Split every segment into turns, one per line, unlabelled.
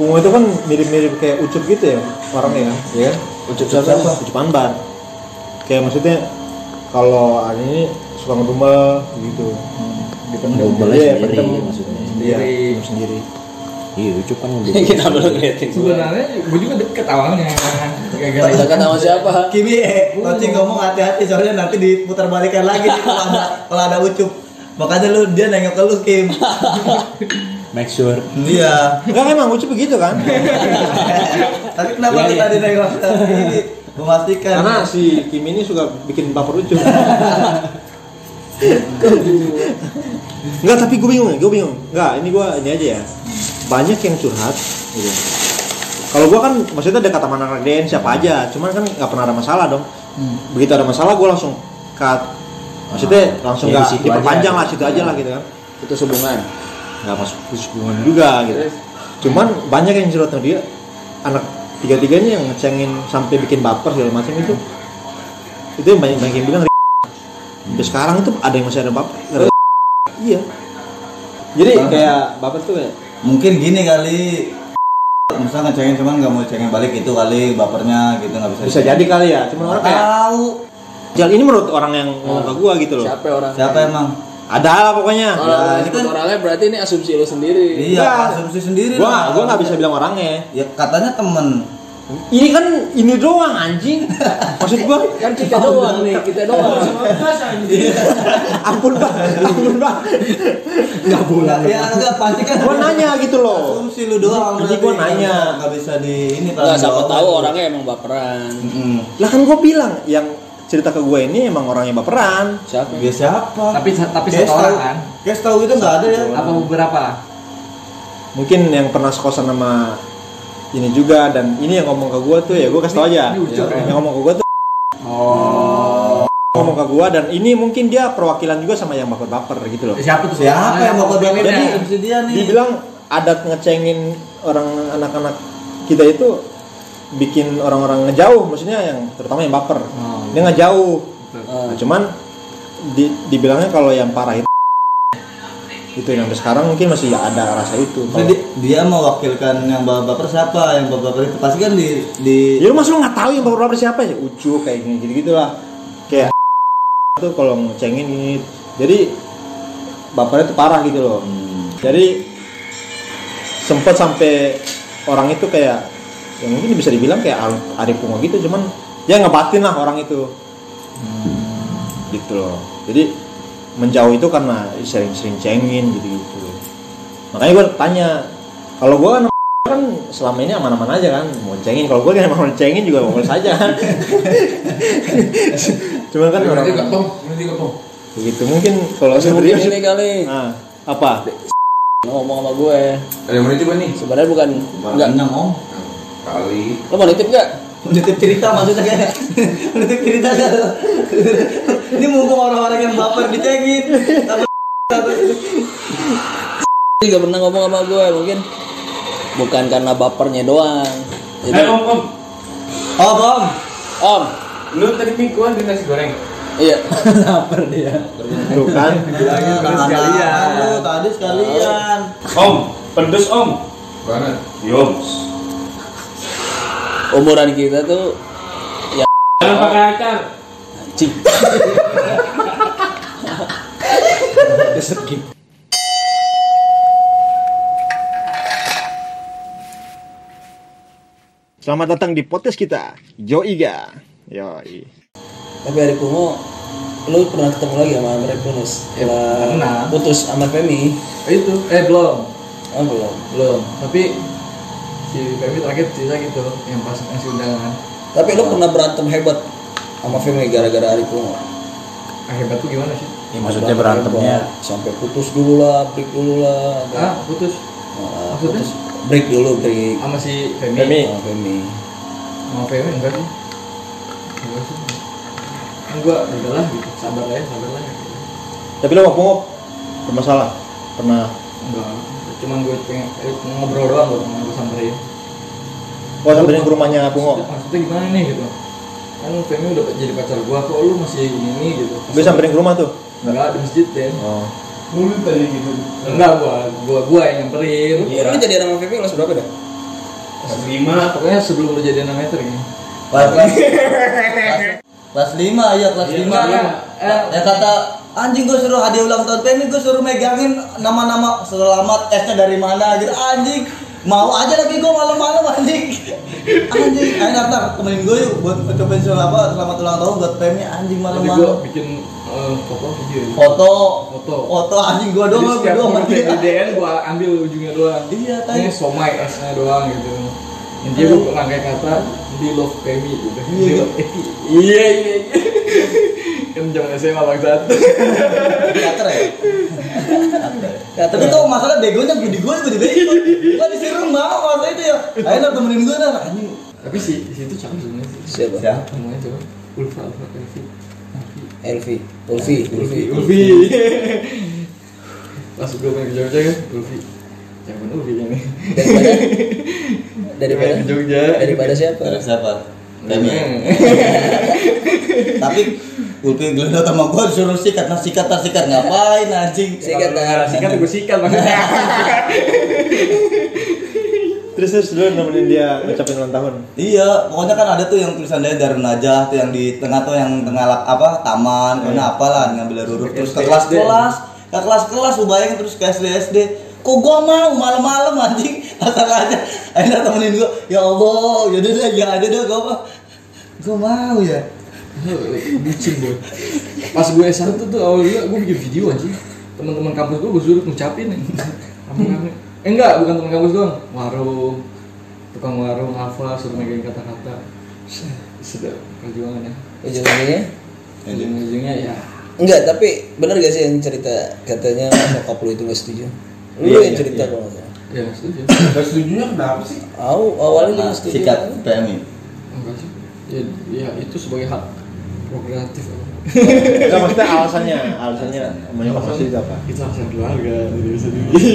Ungu itu kan mirip-mirip kayak ucup gitu ya warnanya ya, ya kan?
Ucup siapa?
Ucup Anbar. Kayak maksudnya kalau hari ini suka ngedumel gitu.
Dipendem
Dumel sendiri
Iya, pendem.
maksudnya.
Iya,
Sendiri.
ngedumel sendiri.
Iya, lucu kan yang dulu.
Kita belum ngeliatin sebenarnya.
Sebenarnya gue juga deket awalnya kan. Gara-gara
Gak
itu.
tahu siapa.
Kimi, eh,
Uh.
Toci ngomong hati-hati soalnya nanti diputar balikan lagi nih kalau ada kalau ada ucup. Makanya lu dia nengok ke lu Kim.
Make sure.
Iya.
Enggak emang ucup begitu kan?
Tapi kenapa
Iya,
lu
iya.
tadi nengok ke Kimi? Memastikan.
Karena si Kim ini suka bikin baper ucup. Enggak, tapi gue bingung, gue bingung. Enggak, ini gue ini aja ya. Banyak yang curhat. gitu. Kalau gue kan maksudnya dekat sama anak DN siapa aja, cuman kan nggak pernah ada masalah dong.
Hmm.
Begitu ada masalah gue langsung cut. Maksudnya
ya
langsung
di
nggak
situ
diperpanjang
aja. Ya.
lah situ aja lah gitu kan.
Itu hubungan.
Nggak masuk hubungan juga gitu. Cuman banyak yang curhat sama dia. Anak tiga-tiganya yang ngecengin sampai bikin baper segala macam itu. Itu yang banyak banyak yang bilang. Sampai sekarang itu ada yang masih ada baper. Gara-gara Iya. Jadi kayak baper tuh kayak
Mungkin gini kali Musa ngecengin cuman nggak mau cengin balik itu kali bapernya gitu nggak bisa.
bisa jadi kali ya cuman orang kayak
Tahu
jalan ini menurut orang yang ngomong ke gua gitu loh
Siapa orang?
siapa emang?
ada lah pokoknya
Kalau
Ya,
lu
itu
nyebut
kan-
orangnya berarti ini asumsi lu sendiri.
Iya,
Enggak.
asumsi sendiri.
gua
lah.
gua nggak bisa bilang orangnya
Ya katanya temen.
ini kan ini doang anjing maksud gua
Kan kita doang nih, kita doang.
ampun pak ampun pak nggak boleh
Ya enggak pasti kan.
gua nanya gitu loh
asumsi lu doang.
Jadi
berarti.
gua nanya.
nggak bisa di ini.
Enggak siapa
tanggung
tahu
jawab.
orangnya emang baperan.
Mm-mm.
lah kan gua bilang yang cerita ke gua ini emang orangnya baperan
Siapa?
Ya siapa?
Tapi tapi
Kayak
satu orang
setahu-
kan.
Kayak tahu itu nggak ada ya.
Apa beberapa?
mungkin yang pernah sekosan sama ini juga dan ini yang ngomong ke gua tuh ya gua kasih tau aja
Ini ujuk ya.
yang ngomong ke gua tuh oh ngomong ke gua dan ini mungkin dia perwakilan juga sama yang baper-baper gitu loh
Eh, Siapa tuh?
Siapa yang mau kodok
Beda.
Jadi asumsi dia nih.
dibilang adat ngecengin orang anak-anak kita itu bikin orang-orang ngejauh maksudnya yang terutama yang baper dia ngejauh Nah, cuman di, dibilangnya kalau yang parah itu itu yang sampai sekarang mungkin masih ada rasa itu kalau
Jadi Oh. dia mewakilkan yang baper siapa? Yang baper itu pasti kan di di
Ya lu masa lu nggak tahu yang baru baper siapa ya? Ucu kayak gini gitu gitulah. Kayak itu kalau ngecengin gini. Jadi bapernya tuh parah gitu loh. Jadi sempet sampai orang itu kayak ya mungkin bisa dibilang kayak Arif, Arif Pungo gitu cuman ya ngebatin lah orang itu gitu loh jadi menjauh itu karena sering-sering cengin gitu gitu makanya gue tanya kalau gue kan kan selama ini aman-aman aja kan mau cengin kalau gue kan emang mau cengin juga boleh saja kan cuma kan orang
Nanti kepung, nanti kepung.
begitu Gitu. mungkin kalau
Tapi
sendiri
mungkin ini kali
nah, apa
ngomong sama gue.
Ada yang mau nitip nih?
Sebenarnya bukan enggak.
enggak om.
Kali.
Lo mau nitip gak?
Menitip cerita maksudnya kayaknya. Menitip cerita kan. Ini mumpung orang-orang yang baper dicengin. Tapi
Dia nggak pernah ngomong sama gue mungkin bukan karena bapernya doang. Jadi,
Eh om om,
Oh, Bom.
om,
lu tadi mingguan di nasi goreng.
iya. Baper dia.
tuh kan
Bilangin sekalian. Lu Nah, tadi sekalian.
Om, pedes om.
banget
Yom.
Umuran kita tuh ya.
Jangan pakai acar.
cik.
selamat datang di podcast kita Joiga Yoi
Tapi hari Kumo, lu pernah ketemu lagi sama Andre Yunus?
Ya,
Setelah
pernah.
Putus sama Femi?
Itu eh belum.
Oh belum.
belum tapi si Feby terakhir cerita gitu yang pas ngasih undangan
Tapi lu pernah berantem hebat sama Femi gara-gara hari Kumo?
ah hebat tuh gimana sih
Ya, maksudnya berantemnya
hebat. sampai putus dulu lah, break dulu lah.
ah putus
Nah,
maksudnya?
putus break dulu break.
sama si Feby
Femi.
Sama Femi.
sama Feby enggak sih enggak sih enggak udahlah gitu sabar aja sabar lah
tapi lo mau pungok bermasalah pernah
enggak cuman gue pengen eh, ngobrol doang gue pengen gue samperin
gua samperin ke rumahnya
maksudnya,
pungok
maksudnya gimana nih gitu kan Feby udah jadi pacar gue kok lu masih ini nih gitu
gue samperin ke rumah tuh
enggak di masjid deh
oh.
enggak gua gua gua yang nyamperin
Lu jadi sama Femi kelas berapa dah?
lima
Pokoknya sebelum lu jadi 6 meter ini.
Wah, kelas, kelas- kelas 5 ya kelas 5
Enggak, enggak. Eh.
Ya kata anjing gue suruh hadiah ulang tahun PMI gue suruh megangin nama-nama selamat S-nya dari mana gitu anjing mau aja lagi gue malam-malam anjing anjing ayo ntar temenin gue yuk buat cobain sel- apa selamat ulang tahun buat PMI anjing
Jadi gua
malam-malam
bikin eh, foto video ya.
foto
Foto.
foto anjing gue
Jadi
doang gue
setiap
doang
foto yang di DN gua ambil ujungnya doang.
iya
Ini
tadi
somai S-nya doang gitu. Intinya gua rangkai kata di love Pemi gitu.
Iya,
Di love Pemi. Iya iya iya. Kan zaman SMA bangsat.
teater ya Ya, tapi tuh masalah begonya gue di gue gue di bego. Gue disuruh mau masalah itu ya. Ayo ntar temenin gue ntar anjing.
Tapi si si itu cakep sebenarnya sih.
Siapa?
Namanya coba Ulfa Ulfa Pemi.
Elvi, Ulfi, Ulfi.
Ulfi. Pas gua main ke Jogja kan Ulfi. Jangan Ulfi kan.
Daripada daripada
Main ke Jogja.
daripada siapa?
Terus siapa? Remi.
Pemi.
Tapi Ulpi gelendot sama gue disuruh sikat, nah sikat, nah sikat ngapain anjing?
Sikat tangan.
Sikat gue sikat maksudnya.
Terus terus dulu nemenin dia ngucapin ulang tahun.
Iya, pokoknya kan ada tuh yang tulisannya dari Najah tuh yang di tengah tuh yang tengah lap- apa taman, pokoknya apalah ngambil dari huruf terus Iya. ke
SD.
kelas kelas, ke kelas kelas lu bayangin terus ke SD SD. Kok gua mau malam-malam anjing asal aja. Akhirnya temenin gua, ya Allah, ya udah deh, ya ada deh gua mah. Gua mau ya.
bucin boy pas gue S1 tuh awalnya gue bikin video aja teman-teman kampus gue gue suruh ngucapin ya. rame-rame eh enggak bukan teman kampus doang warung tukang warung hafal suruh megangin kata-kata sedap perjuangannya
Ujung-ujungnya?
ujung-ujungnya ya
Enggak, tapi benar gak sih yang cerita katanya nyokap lu itu gak setuju? Lu
Iya,
yang
iya,
cerita
iya.
kalau nggak salah.
ya setuju
Gak setujunya kenapa sih?
Aku awalnya juga
Ah,
Nah,
setuju. kan?
sikat PMI.
enggak sih ya, ya itu sebagai hak prokreatif
Enggak maksudnya alasannya, alasannya menyokap pasti itu apa?
itu alasan keluarga tidak bisa dibeli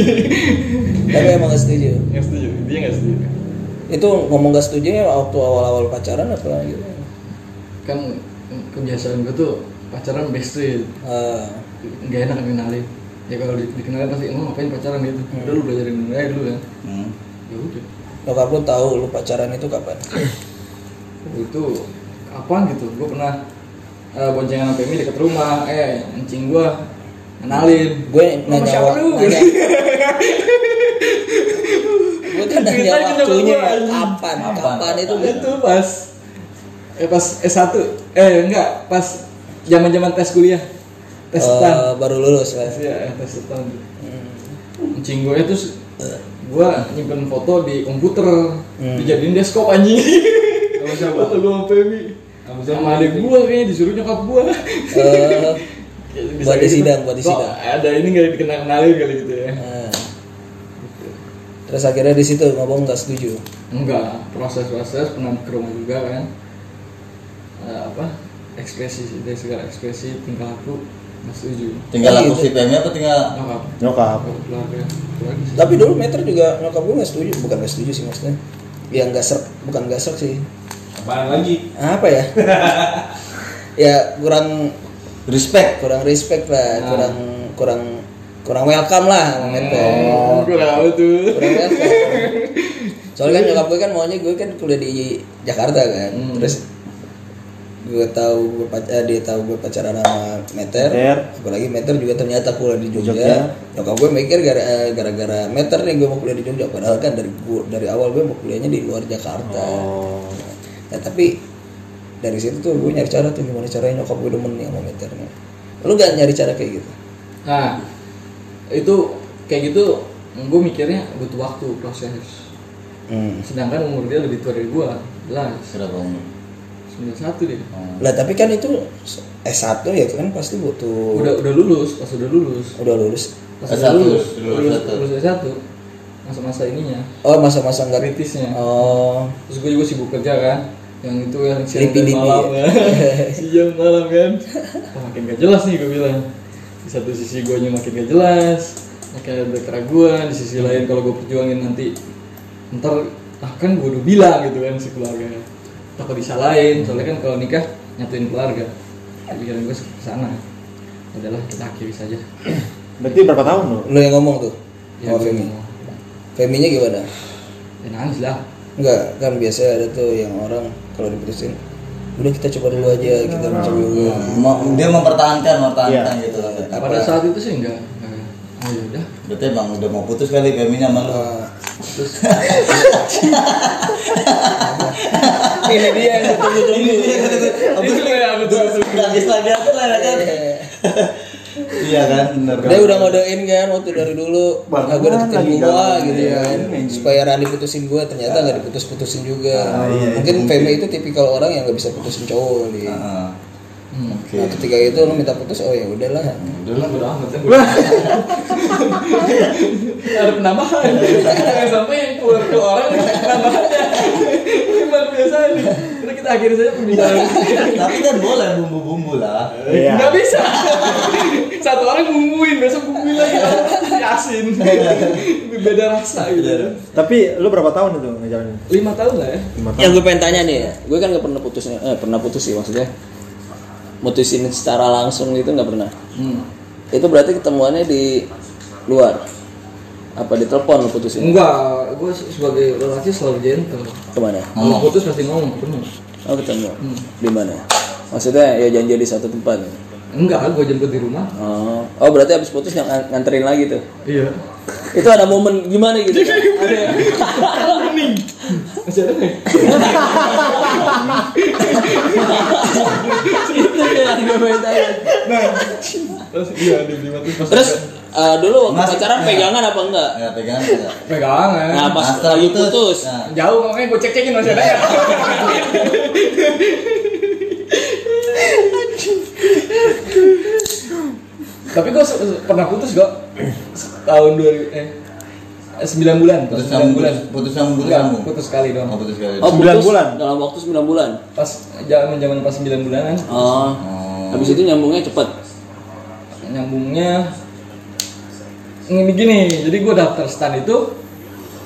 Tapi emang gak setuju.
nggak setuju dia nggak setuju
Itu ngomong gak setuju ya waktu awal-awal pacaran apa lagi?
kan kebiasaan gue tuh pacaran best friend
Ah,
nggak enak kenalin ya kalau di- dikenalin pasti emang ngapain pacaran gitu
Hmm.
udah lu belajarin aja dulu kan
Hmm.
ya udah
nyokap lu tahu lu pacaran itu kapan?
Waktu itu apaan gitu gue pernah eh, boncengan sama Femi deket rumah eh anjing gue kenalin
Gue
Nama
nanya
siapa lu?
waktunya. Gue tuh kan nanya
Ceritanya nyokap
waktunya
gua, anjing.
kapan? Kapan itu?
itu pas eh pas S1 eh enggak pas zaman zaman tes kuliah tes setan
Eh, baru lulus kan?
Iya, ya, tes setan
Hmm.
Anjing gue itu gue nyimpen foto di komputer
Hmm.
dijadiin deskop anjing
Sama siapa?
foto gue sama Femi
Sama siapa?
sama adik gue kayaknya disuruh nyokap gue
Eh, Buat di sidang, buat di sidang.
ada ini gak dikenal kenalin kali gitu ya
eh. Terus akhirnya di situ ngomong nggak setuju.
enggak proses-proses pernah ke rumah juga kan Eh, apa ekspresi dari segala ekspresi tingkah laku nggak setuju
Tinggal
Iya,
aku si PMI apa tinggal
nyokap
Nyokap.
nyokap keluarga keluarga sih.
Tapi dulu meter juga nyokap gue nggak setuju, bukan nggak setuju sih maksudnya. Ya nggak serk, bukan nggak serk sih.
Apaan lagi?
Apa ya? ya kurang
respect.
kurang respect lah,
Nah.
kurang kurang kurang welcome lah sama meter.
Oh, gue tahu tuh
Kurang welcome. Soalnya kan nyokap gue kan maunya gue kan kuliah di Jakarta kan.
Hmm.
Terus gue tahu gue pacar dia tahu gue pacaran sama meter
Meter.
apalagi meter juga ternyata kuliah di Jogja,
Jogja.
nyokap gue mikir gara- eh, gara-gara meter nih gue mau kuliah di Jogja padahal kan dari gua- dari awal gue mau kuliahnya di luar Jakarta
Oh.
nah tapi dari situ tuh gue nyari cara tuh gimana caranya nyokap gue demen nih sama meternya lu gak nyari cara kayak gitu
Nah, itu kayak gitu gue mikirnya butuh waktu proses.
hmm.
Sedangkan umur dia lebih tua dari gue, jelas.
Berapa umur?
91 dia.
lah tapi kan itu S1 ya kan pasti butuh
Udah udah lulus, pas udah lulus.
udah lulus
Pas
S1,
udah lulus,
lulus
lulus,
S1.
lulus S1. Masa-masa ininya,
oh masa-masa nggak
kritisnya.
oh
Terus gue juga sibuk kerja kan. Yang itu yang siang dan
Lipi-lipi.
malam ya. siang malam kan. Wah, makin gak jelas nih gue bilang. Di satu sisi gue makin gak jelas, makin ada keraguan. Di sisi lain kalau gue perjuangin nanti ntar ah kan gue udah bilang gitu kan si keluarga takut disalahin soalnya kan kalau nikah nyatuin keluarga pikiran gue kesana adalah kita akhiri saja
Berarti berapa tahun lo?
lu yang ngomong tuh sama
gue
Femi
mau-
Feminya gimana
ya nangis lah
Enggak, kan biasa ada tuh yang orang kalau diputusin udah kita coba dulu aja kita mencoba dulu
Mau- dia mempertahankan mempertahankan gitu kan
Pada saat itu sih enggak. Enggak. Oh ya udah.
berarti emang udah mau putus kali Feminya sama lu
Nah. ini dia yang ditunggu-tunggu
Itu ya, betul, betul.
Nangis lagi apa lah ya kan iya kan bener kan
dia udah ngodein kan waktu dari dulu
Bang,
nah, gue deketin
lagi
gua
galau,
gitu
iya,
kan
ini.
supaya Rani putusin gua ternyata nggak diputus-putusin juga
iya, Ah,
mungkin Femi itu tipikal orang yang nggak bisa putusin cowok kali.
Heeh.
Hmm.
oke
Nah, ketika itu lu minta putus oh ya udahlah
Udah lah, udah amat kan.
Ada penambahan. Jangan sampai yang keluar ke orang penambahannya. Ini luar biasa nih. Udah kita akhiri saja pembicaraan.
tapi kan boleh bumbu-bumbu lah
Iya.
Enggak bisa. Satu orang bumbuin, besok bumbuin lagi orang kasih asin. Lebih beda rasa gitu.
Tapi lu berapa tahun itu ngejalanin?
Lima tahun lah ya.
Lima tahun.
yang gue pengen tanya nih gue kan nggak pernah putus eh pernah putus sih maksudnya mutusin secara langsung gitu nggak pernah
Hmm.
itu berarti ketemuannya di luar apa di telepon lu putusin
Enggak, gue sebagai lelaki selalu gentle.
kemana
Kalau putus pasti ngomong ketemu.
oh ketemu di mana maksudnya ya janji di satu tempat
Enggak, gue jemput di rumah.
oh oh berarti abis putus yang ngan- nganterin lagi tuh
Iya.
itu ada momen gimana gitu ada ya?
Masih ada nggak?
itu yang gue pengen tanya
Terus iya dibeli mati pas
terus eh, dulu waktu
Mas-
pacaran
ya.
pegangan apa enggak
ya pegangan enggak
pegangan.
nah pas
Nah, setelah
lagi
putus.
putus
Nah.
Jauh makanya gue cek cekin masih ada ya. Tapi gue se- se- pernah putus kok tahun 2000 eh 9 bulan, pas
putus
9
sambung
bulan.
putus sambung putus
Enggak,
sambung
putus sekali
oh
doang.
putus kali
oh
Sembilan
putus
bulan.
dalam waktu 9 bulan
Pas zaman-zaman pas 9 bulanan
oh habis itu nyambungnya cepet
nyambungnya ini gini, jadi gue daftar stan itu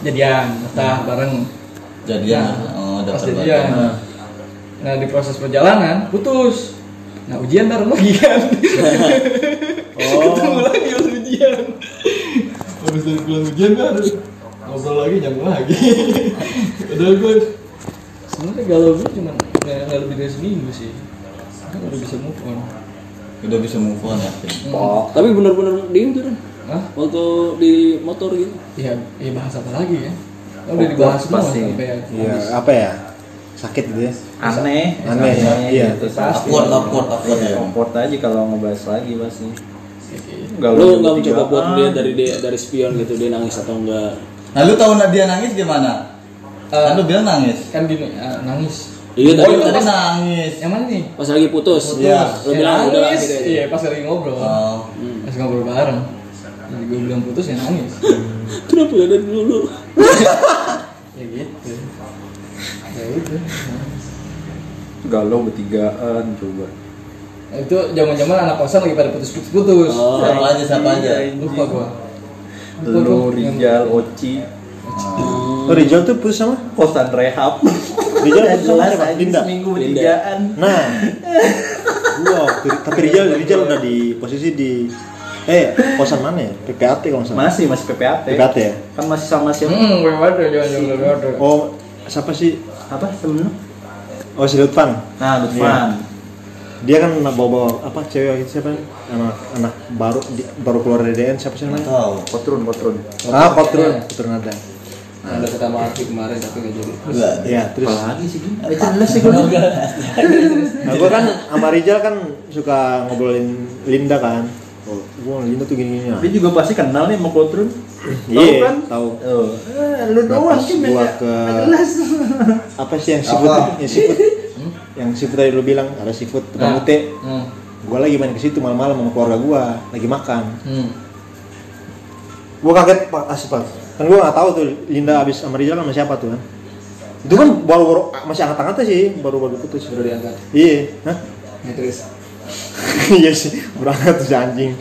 jadian, entah bareng
jadian oh
pas
dapat
jadian.
banget.
Nah di proses perjalanan putus. Nah ujian bareng lagi kan. Ketemu lagi pas ujian. Habis dari pulang ujian baru ngobrol lagi nyambung lagi. Padahal gue sebenarnya galau gue cuma nggak nggak lebih dari seminggu sih. Gue udah bisa move on.
udah bisa move on ya Fit?
tapi bener-bener dingin tuh Ren.
Hah?
waktu di motor gitu
Iya, iya bahas apa lagi ya? Kan udah dibahas semua sampai
Iya, apa ya? Sakit gitu ya.
aneh
Aneh,
rasanya
iya.
gitu pasti
upward upward upward ya
Komport aja kalau ngebahas lagi pasti Galau
lu
juga
nggak mencoba
tiga
buat
orang.
dia dari dia dari spion gitu dia nangis atau enggak
nah lu tahu Nadia nangis gimana kan lu bilang nangis
kan gini eh, nangis.
iya
oh
tadi
lu
pas,
nangis
Yang mana nih?
pas lagi putus
Iya.
lu
Ya,
bilang udah lah
nangis.
gitu aja.
Iya, pas lagi ngobrol.
oh
Pas ngobrol bareng. Jadi gue bilang putus ya nangis.
kenapa ya dari dulu
ya gitu. Ya udah. nangis.
galau bertigaan coba
Nah, Itu zaman-zaman anak kosan lagi pada putus-putus.
Oh.
siapa aja siapa aja
Lupa gua. Lupa
lu
gua.
Rijal Oci
Lu Rizal Oh, tuh putus sama?
kosan rehab
Rijal putus sama siapa?
Aja
Dinda.
seminggu
Dinda.
bertigaan
Nah. Wow, tapi Rizal Rizal udah di posisi di eh kosan mana ya? PPAT kalau nggak salah.
masih masih PPAT
PPAT ya.
kan masih sama siapa
Hmm, gue waduh, jangan-jangan gue waduh.
Oh, siapa sih?
apa temen lu
Oh, si Lutfan.
Hmm. nah Lutfan
Dia kan bawa-bawa apa cewek itu siapa? Anak anak baru di- baru keluar dari DN siapa sih namanya?
tahu
Kotrun Kotrun
Ah, Kotrun, Kotrun ada.
ada kata maaf kemarin tapi nggak jadi
enggak
Iya, Ah. terus
apalagi sih Gin? ada jelas sih gua
Nah, gue kan sama Rizal kan suka ngobrolin Linda kan. Oh, gua Linda tuh gini-gini. lah.
dia juga pasti kenal nih sama Kotrun
Iya,
kan
tahu.
oh. eh, lu
Nah,
doang
pas
sih
gua
nggak-
ke
nggak jelas
apa Ya. sih yang seafood? Yang seafood. Yang seafood tadi lu bilang ada seafood tukang
Nah.
mute.
Hmm.
Gua lagi main ke situ malam-malam sama keluarga gua, lagi makan.
Hmm.
Gua kaget Pak asli Pak. Kan gua nggak tahu tuh Linda abis sama Rizal sama siapa tuh kan. Itu kan baru, -baru masih angkat-angkatnya sih, baru-baru putus.
baru diangkat
Iya, hah?
ya, terus
iya sih berangkat tuh si anjing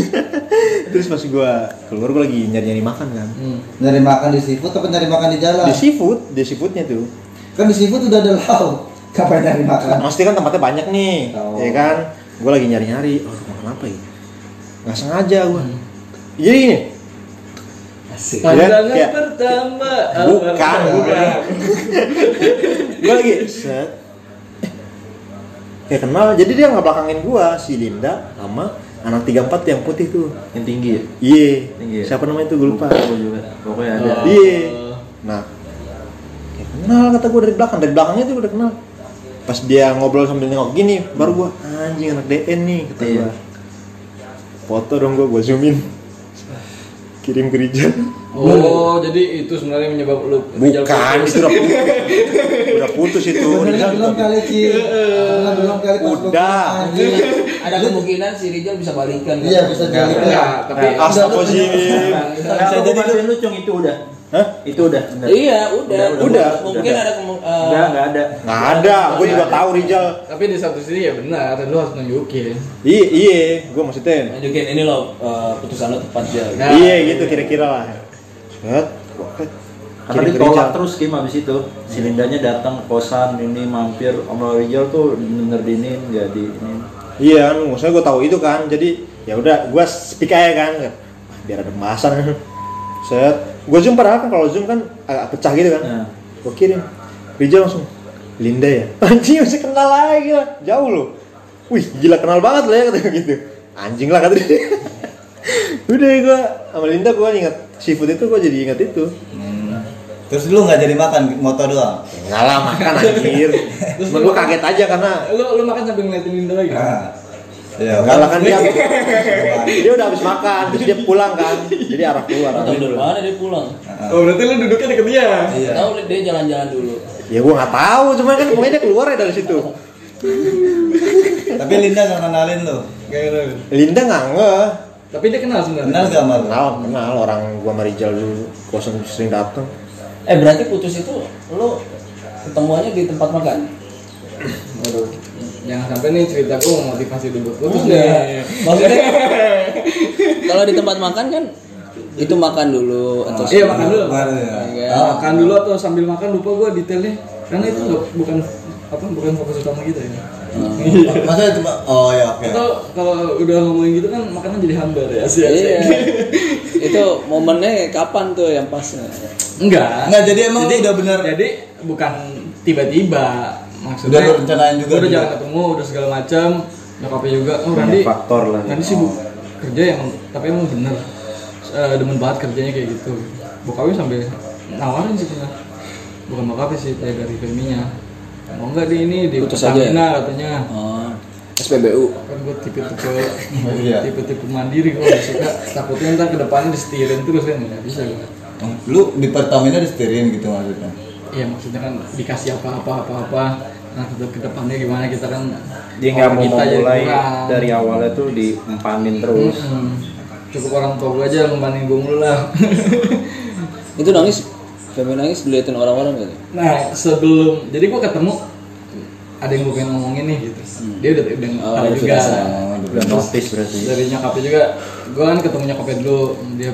terus pas gua keluar gua lagi nyari nyari makan kan
Hmm.
nyari makan di seafood apa nyari makan di jalan
di seafood di seafoodnya tuh
kan di seafood udah ada lauk kapan nyari makan
pasti kan tempatnya banyak nih
Tahu.
ya kan gua lagi nyari nyari oh makan apa ya nggak sengaja gua jadi gini Asik.
Pandangan
Kayak-
pertama
Bukan,
apa?
bukan. gue lagi set kayak kenal jadi dia nggak belakangin gua si Linda sama anak 34 yang putih tuh
yang tinggi ya?
iye
Tinggi ya?
siapa namanya tuh gue lupa
Gua juga. Pokoknya ada.
Oh.
iye nah kayak kenal kata gua dari belakang dari belakangnya tuh udah kenal pas dia ngobrol sambil nengok gini baru gua anjing anak DN nih kata
Iya.
gua foto dong gua gua zoomin kirim ke Rijan
Oh, jadi itu sebenarnya menyebab lu
bukan itu udah putus udah putus itu
Bener
Rizal
belum
juga-
kali Ci Bener belum kali pas lu-
Udah.
Iya.
Anjing.
Ada kemungkinan si Rizal bisa balikan. kan?
Iya bisa jadi
Enggak, Iya, tapi
Ah. Astagfirullahaladzim
Bisa jadi lu cung itu udah.
Hah?
Itu udah. Enggak.
Iya, udah.
Udah, udah.
Mungkin
Udah.
ada eh, kemungkinan.
Enggak, enggak ada.
Nggak ada, gue juga tahu Rizal
tapi di satu sisi ya benar, lu harus nunjukin.
Iya, iya, gue maksudnya
Lanjutin ini loh eh, putusan lo tepat ya.
Nah,
Iya gitu kira-kira lah Set,
Karena
Kirim ke
ditolak
Rizal.
terus Kim abis itu Silindanya datang ke kosan ini mampir Om Rizal tuh bener dinin nggak di ini
Iya kan, maksudnya gue tahu itu kan Jadi ya udah gue speak aja kan Ah, Biar ada pembahasan Set, gue zoom padahal kan kalau zoom kan agak pecah gitu kan
Nah,
gue kirim Rizal langsung Linda ya anjing masih kenal lagi gila jauh loh wih gila kenal banget lah ya kata gua gitu anjing lah kata dia udah gue sama Linda gue ingat seafood itu gue jadi ingat itu
Terus lu nggak jadi makan motor doang
enggak lah makan anjir cuma gue kaget aja karena
Lu lu makan sambil ngeliatin Linda lagi.
Ah.
Iya
enggak lah kan dia dia udah habis makan terus dia pulang kan jadi arah keluar
Tahu dari mana dia pulang?
Oh, berarti lu duduknya deket dia.
Iya.
Tahu dia jalan-jalan dulu.
ya gue nggak tahu cuma kan pokoknya dia keluar ya dari situ
Tapi Linda nggak kenalin lu
Nggak kenal.
Linda nggak ngeh
Tapi dia kenal sebenarnya.
Kenal nggak sama lu?
kenal kenal orang gue sama Rizal dulu kosan sering datang
Eh berarti putus itu lo ketemuannya di tempat makan?
Waduh. Jangan sampai nih cerita gue memotivasi dulu buat putus
Iya.
deh.
Maksudnya kalau di tempat makan kan itu makan dulu atau
Iya makan dulu.
Baru ya.
Iya. Makan dulu atau sambil makan lupa gua detailnya karena itu nggak- bukan apa bukan fokus utama kita ya.
Maksudnya cuma Oh ya oke
Atau kalau udah ngomongin gitu kan makanan jadi hambar ya sih.
Iya. itu momennya kapan tuh yang pasnya?
Enggak.
Nggak jadi emang lu udah bener
Jadi bukan tiba-tiba maksudnya.
Udah lu rencanain juga
Udah
dulu.
jarang ketemu, udah segala macam. Nyokapnya juga. Oh Randi.
banyak faktor lah
Randi sibuk kerja yang tapi emang bener Eh, demen banget kerjanya kayak gitu. Bokapnya sampai nawarin sih pernah. Bukan bokapnya sih, kayak dari feminya. Mau nggak di ini di
Putus aja ya?
Pertamina katanya.
Oh, SPBU.
Kan gue tipe-tipe tipe-tipe mandiri gue suka. Takutnya ntar kedepannya disetirin terus kan nggak bisa gue.
Lu di Pertamina disetirin gitu maksudnya
Iya maksudnya kan dikasih apa-apa apa-apa nah ke kedepannya gimana kita kan
dia nggak mau
kita jadi
memulai
kurang.
dari awalnya tuh diempanin terus
Hmm, cukup orang tua gue aja ngebanin gue mulu lah
Itu nangis, sampai nangis diliatin orang-orang gitu.
nah sebelum jadi gue ketemu ada yang gue pengen ngomongin nih gitu
Hmm.
dia udah udah
Oh,
tahu
udah
juga
udah notice berarti
dari nyokapnya juga gue kan ketemu nyokapnya dulu dia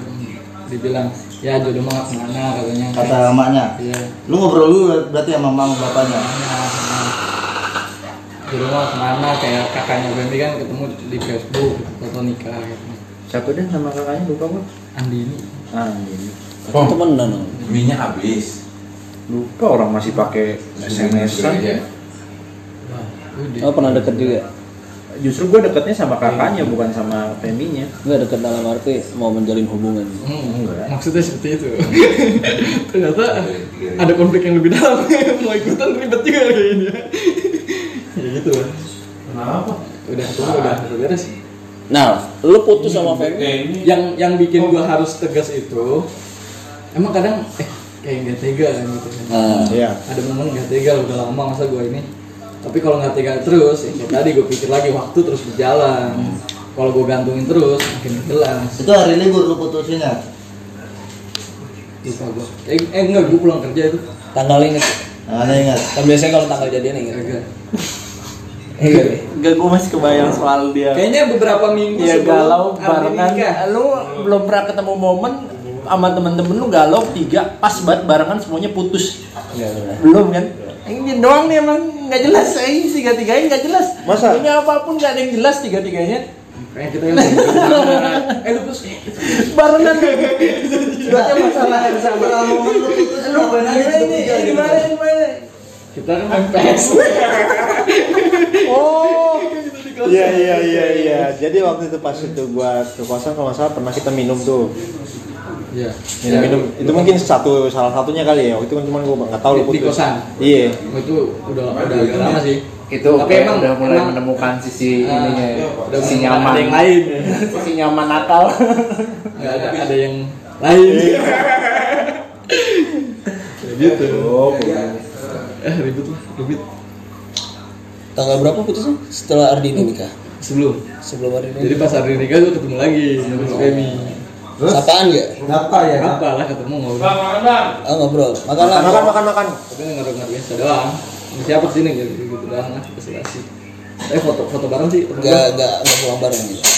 dibilang ya jodoh mah nggak kemana katanya
Kata emaknya
iya
Lu ngobrol lu berarti sama mama sama bapaknya
di rumah kemana kayak kakaknya Bambi kan ketemu di Facebook foto nikah gitu
siapa deh sama kakaknya lupa gua
Andini
ah ini
Oh. Temenan. dong.
Minyak habis.
lupa orang masih pakai sms -an.
Iya.
Oh, pernah deket juga.
justru gua deketnya sama kakaknya bukan sama feminya
Enggak deket dalam arti mau menjalin hubungan.
Hmm, maksudnya seperti itu ternyata ada konflik yang lebih dalam mau ikutan ribet juga kayaknya ya gitu lah
Kenapa?
udah ketemu udah udah beres
Nah, lu putus sama Femi.
Kayak ini.
yang yang bikin
Oh.
gua harus tegas itu emang kadang eh kayak nggak tega kan gitu
Nah,
Iya.
ada momen nggak tega udah lama masa gua ini tapi kalau nggak tega terus ya kayak tadi gue pikir lagi waktu terus berjalan kalau gue gantungin terus makin jelas
Itu hari libur lu putusin ya?
lupa gue eh, eh enggak gue pulang kerja itu
tanggal inget.
Nah, Anda ingat
Kan biasanya kalau tanggal jadian inget.
Kagak.
Iya.
enggak gua masih kebayang soal dia
Kayaknya beberapa minggu
Iya
sebelum
galau
Ardi
barengan.
nikah.
Lu belum pernah ketemu momen sama temen-temen lu galau tiga pas banget barengan semuanya putus.
Iya,
Belum kan? Ini doang nih emang nggak jelas eh tiga tiganya nggak jelas.
Masa?
Ini apapun nggak ada yang jelas tiga tiganya.
kayak kita yang eh lu putus
barengan
Berarti masalah yang sama. Kalau momen lu putus, lu ngapain aja
gimana ini
bertiga gitu.
gimana gimana
kita kan main PS
Oh. Iya iya iya iya. Jadi waktu itu pas itu gua ke kosan kalau nggak salah pernah kita minum tuh.
iya
Minum minum. Itu mungkin satu salah satunya kali ya. Waktu itu kan cuman gua nggak tahu lu
Di- di kosan?
Iya.
Nah, itu udah udah agak lama sih
itu
Tapi
kayak
emang-
udah mulai
emang-
menemukan sisi
Ah,
ininya ya.
udah
sisi
menemukan
nyaman
ada yang lain
sisi nyaman Natal
nggak ada ada yang lain Ya gitu
Oh,
eh ribut lah ribut
Tanggal berapa putusnya? Setelah Ardina nikah.
sebelum
Sebelum Ardina.
jadi pas hari nikah tuh ketemu lagi sama si Femi
Sapaan nggak?
Kenapa ya?
apa lah ketemu ngobrol
Ah ngobrol. Makan
makan makan makan makan.
tapi nggak biasa doang Sama siapa sini gitu gitu doang lah presentasi tapi foto foto bareng sih foto
Enggak
bareng.
enggak enggak pulang bareng gitu.
Eh,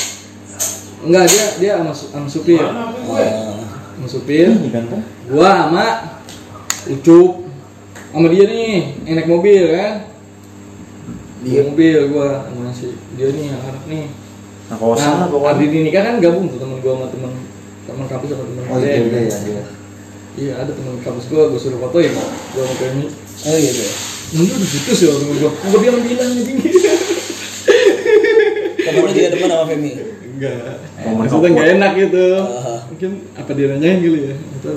Enggak, dia dia sama, su- sama supir
Ah,
sama supir gua sama ucup sama dia nih yang naik mobil kan
Iya.
dia mobil gua sama si dia nih anak nih
Nah,
Oh,
kosan lah
nah,
pokoknya.
Ardi ini kan gabung tuh temen gua sama temen temen kampus sama temen
Oh iya,
kuliah.
iya, iya.
iya ada temen kampus gua gua suruh fotoin gua sama Femi
Oh gitu.
nanti udah putus ya temen gua gua bilang bilang aja
Kamu juga depan sama Femi.
Enggak.
kan
Maksudnya enggak enak gitu.
Ah.
Mungkin apa dia nanyain kali ya? Itu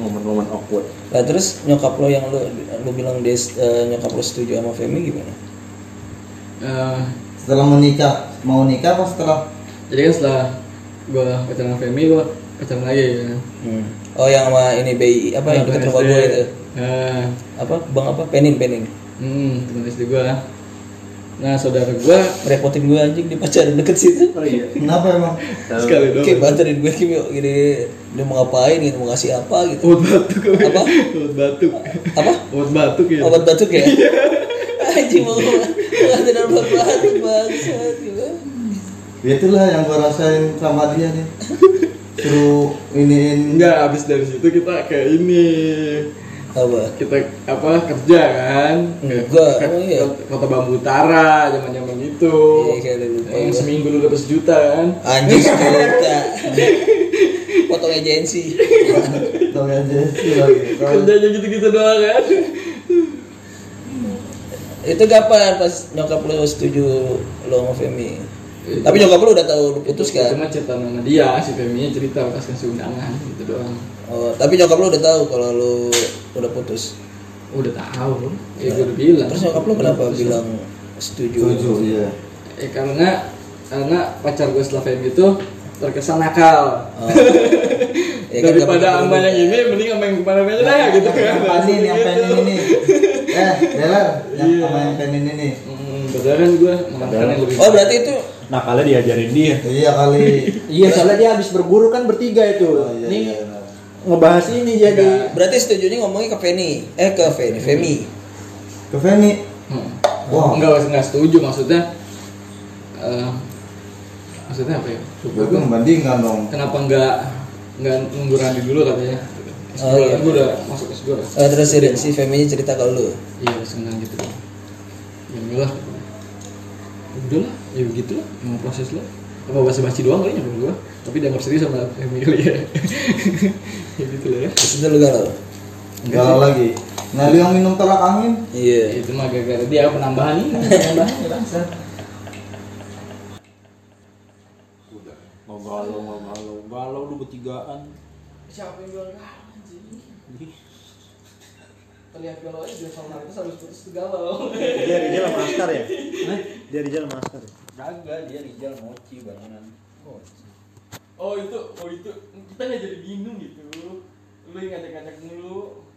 Momen-momen awkward.
Nah terus nyokap lo yang lo lo bilang dia eh, nyokap lo setuju sama Femi gimana?
Eh,
Setelah menikah, mau nikah apa setelah?
jadi kan setelah gua pacaran sama Femi, gua pacaran lagi ya.
Hmm. Oh yang sama ini BI apa yang dekat rumah gue itu
Nah,
apa bang apa penin penin
hmm, teman SD gua. Nah, saudara gua
repotin gue anjing di pacaran deket situ
Kenapa emang?
sekali
kayak
doang.
banterin gue Kim yuk gini dia mau ngapain gitu mau ngasih apa gitu
Obat batuk.
Apa?
Obat batuk.
apa
Obat batuk ya.
obat batuk ya anjing mau ngatain obat batuk bangsat gitu
Ya Itulah yang gua rasain sama dia nih. Suruh iniin
Enggak, habis dari situ kita kayak ini.
apa
Kita apa kerja kan? Ke-
Enggak,
ke-
emang iya.
ke Kota Bambu Utara, zaman-zaman gitu.
Iya, kayak ada lupa
yang
gua.
seminggu lu dapat sejuta kan?
anjing sejuta potong agensi
tau aja sih lagi. Tau-
kerjanya gitu-gitu doang kan
itu kapan pas nyokap lo setuju lo sama Femi
Iya.
tapi nyokap lo udah tahu lo putus kan
cuma cerita sama dia si Femi cerita pas kasih undangan gitu doang
oh, tapi nyokap lo udah tahu kalau lo udah putus
Oh, udah tahu ya gue udah bilang
terus nyokap lo kenapa
Terus-
bilang setuju
Tujuh, iya.
ya karena karena pacar gue setelah Femi itu terkesan nakal
Oh. Ya kan, gak
daripada sama yang
pernah berubah.
ini mending sama yang kemarin aja
Nah,
dah gitu kan
Yang panin, yang penin ini. Eh, Delar, yang sama yang penin ini.
Hmm, padahal kan gue makan yang lebih
Oh berarti itu
Nah, kalau diajarin dia.
Iya kali.
Iya, soalnya dia habis berguru kan bertiga itu.
Oh, iya,
Ini
iya.
ngebahas ini jadi
berarti setujunya ngomongnya ke Feni. Eh ke Feni, Femi.
Ke Feni.
Hmm.
Wah.
nggak nggak setuju maksudnya eh, maksudnya apa ya
Gue tuh membandingkan dong.
kenapa nggak nggak nunggu Randi dulu katanya S2
Oh, iya.
kan gue udah masuk S2 lah
Eh, terus si, si Femi cerita ke lu.
iya senang gitu ya udah lah udah lah ya begitu lah emang proses lah apa basa basi doang kali nyambung gue tapi dianggap serius sama Emily ya ya gitu lah ya
Terus itu lu galau.
Galau lagi. Nah, lu yang minum tolak angin.
Ya,
Iya.
itu mah gara-gara dia penambahan ini penambahan ya bangsa
Mau galau, mau galau, galau lu bertigaan.
siapa yang bilang galau anjing terlihat galau aja dia sama itu harus terus galau
Dia Rizal sama Askar ya? Dia Rizal sama Askar. ya?
Oh itu, oh itu kita nggak jadi bingung gitu. Lu yang ngajak-ngajak mulu.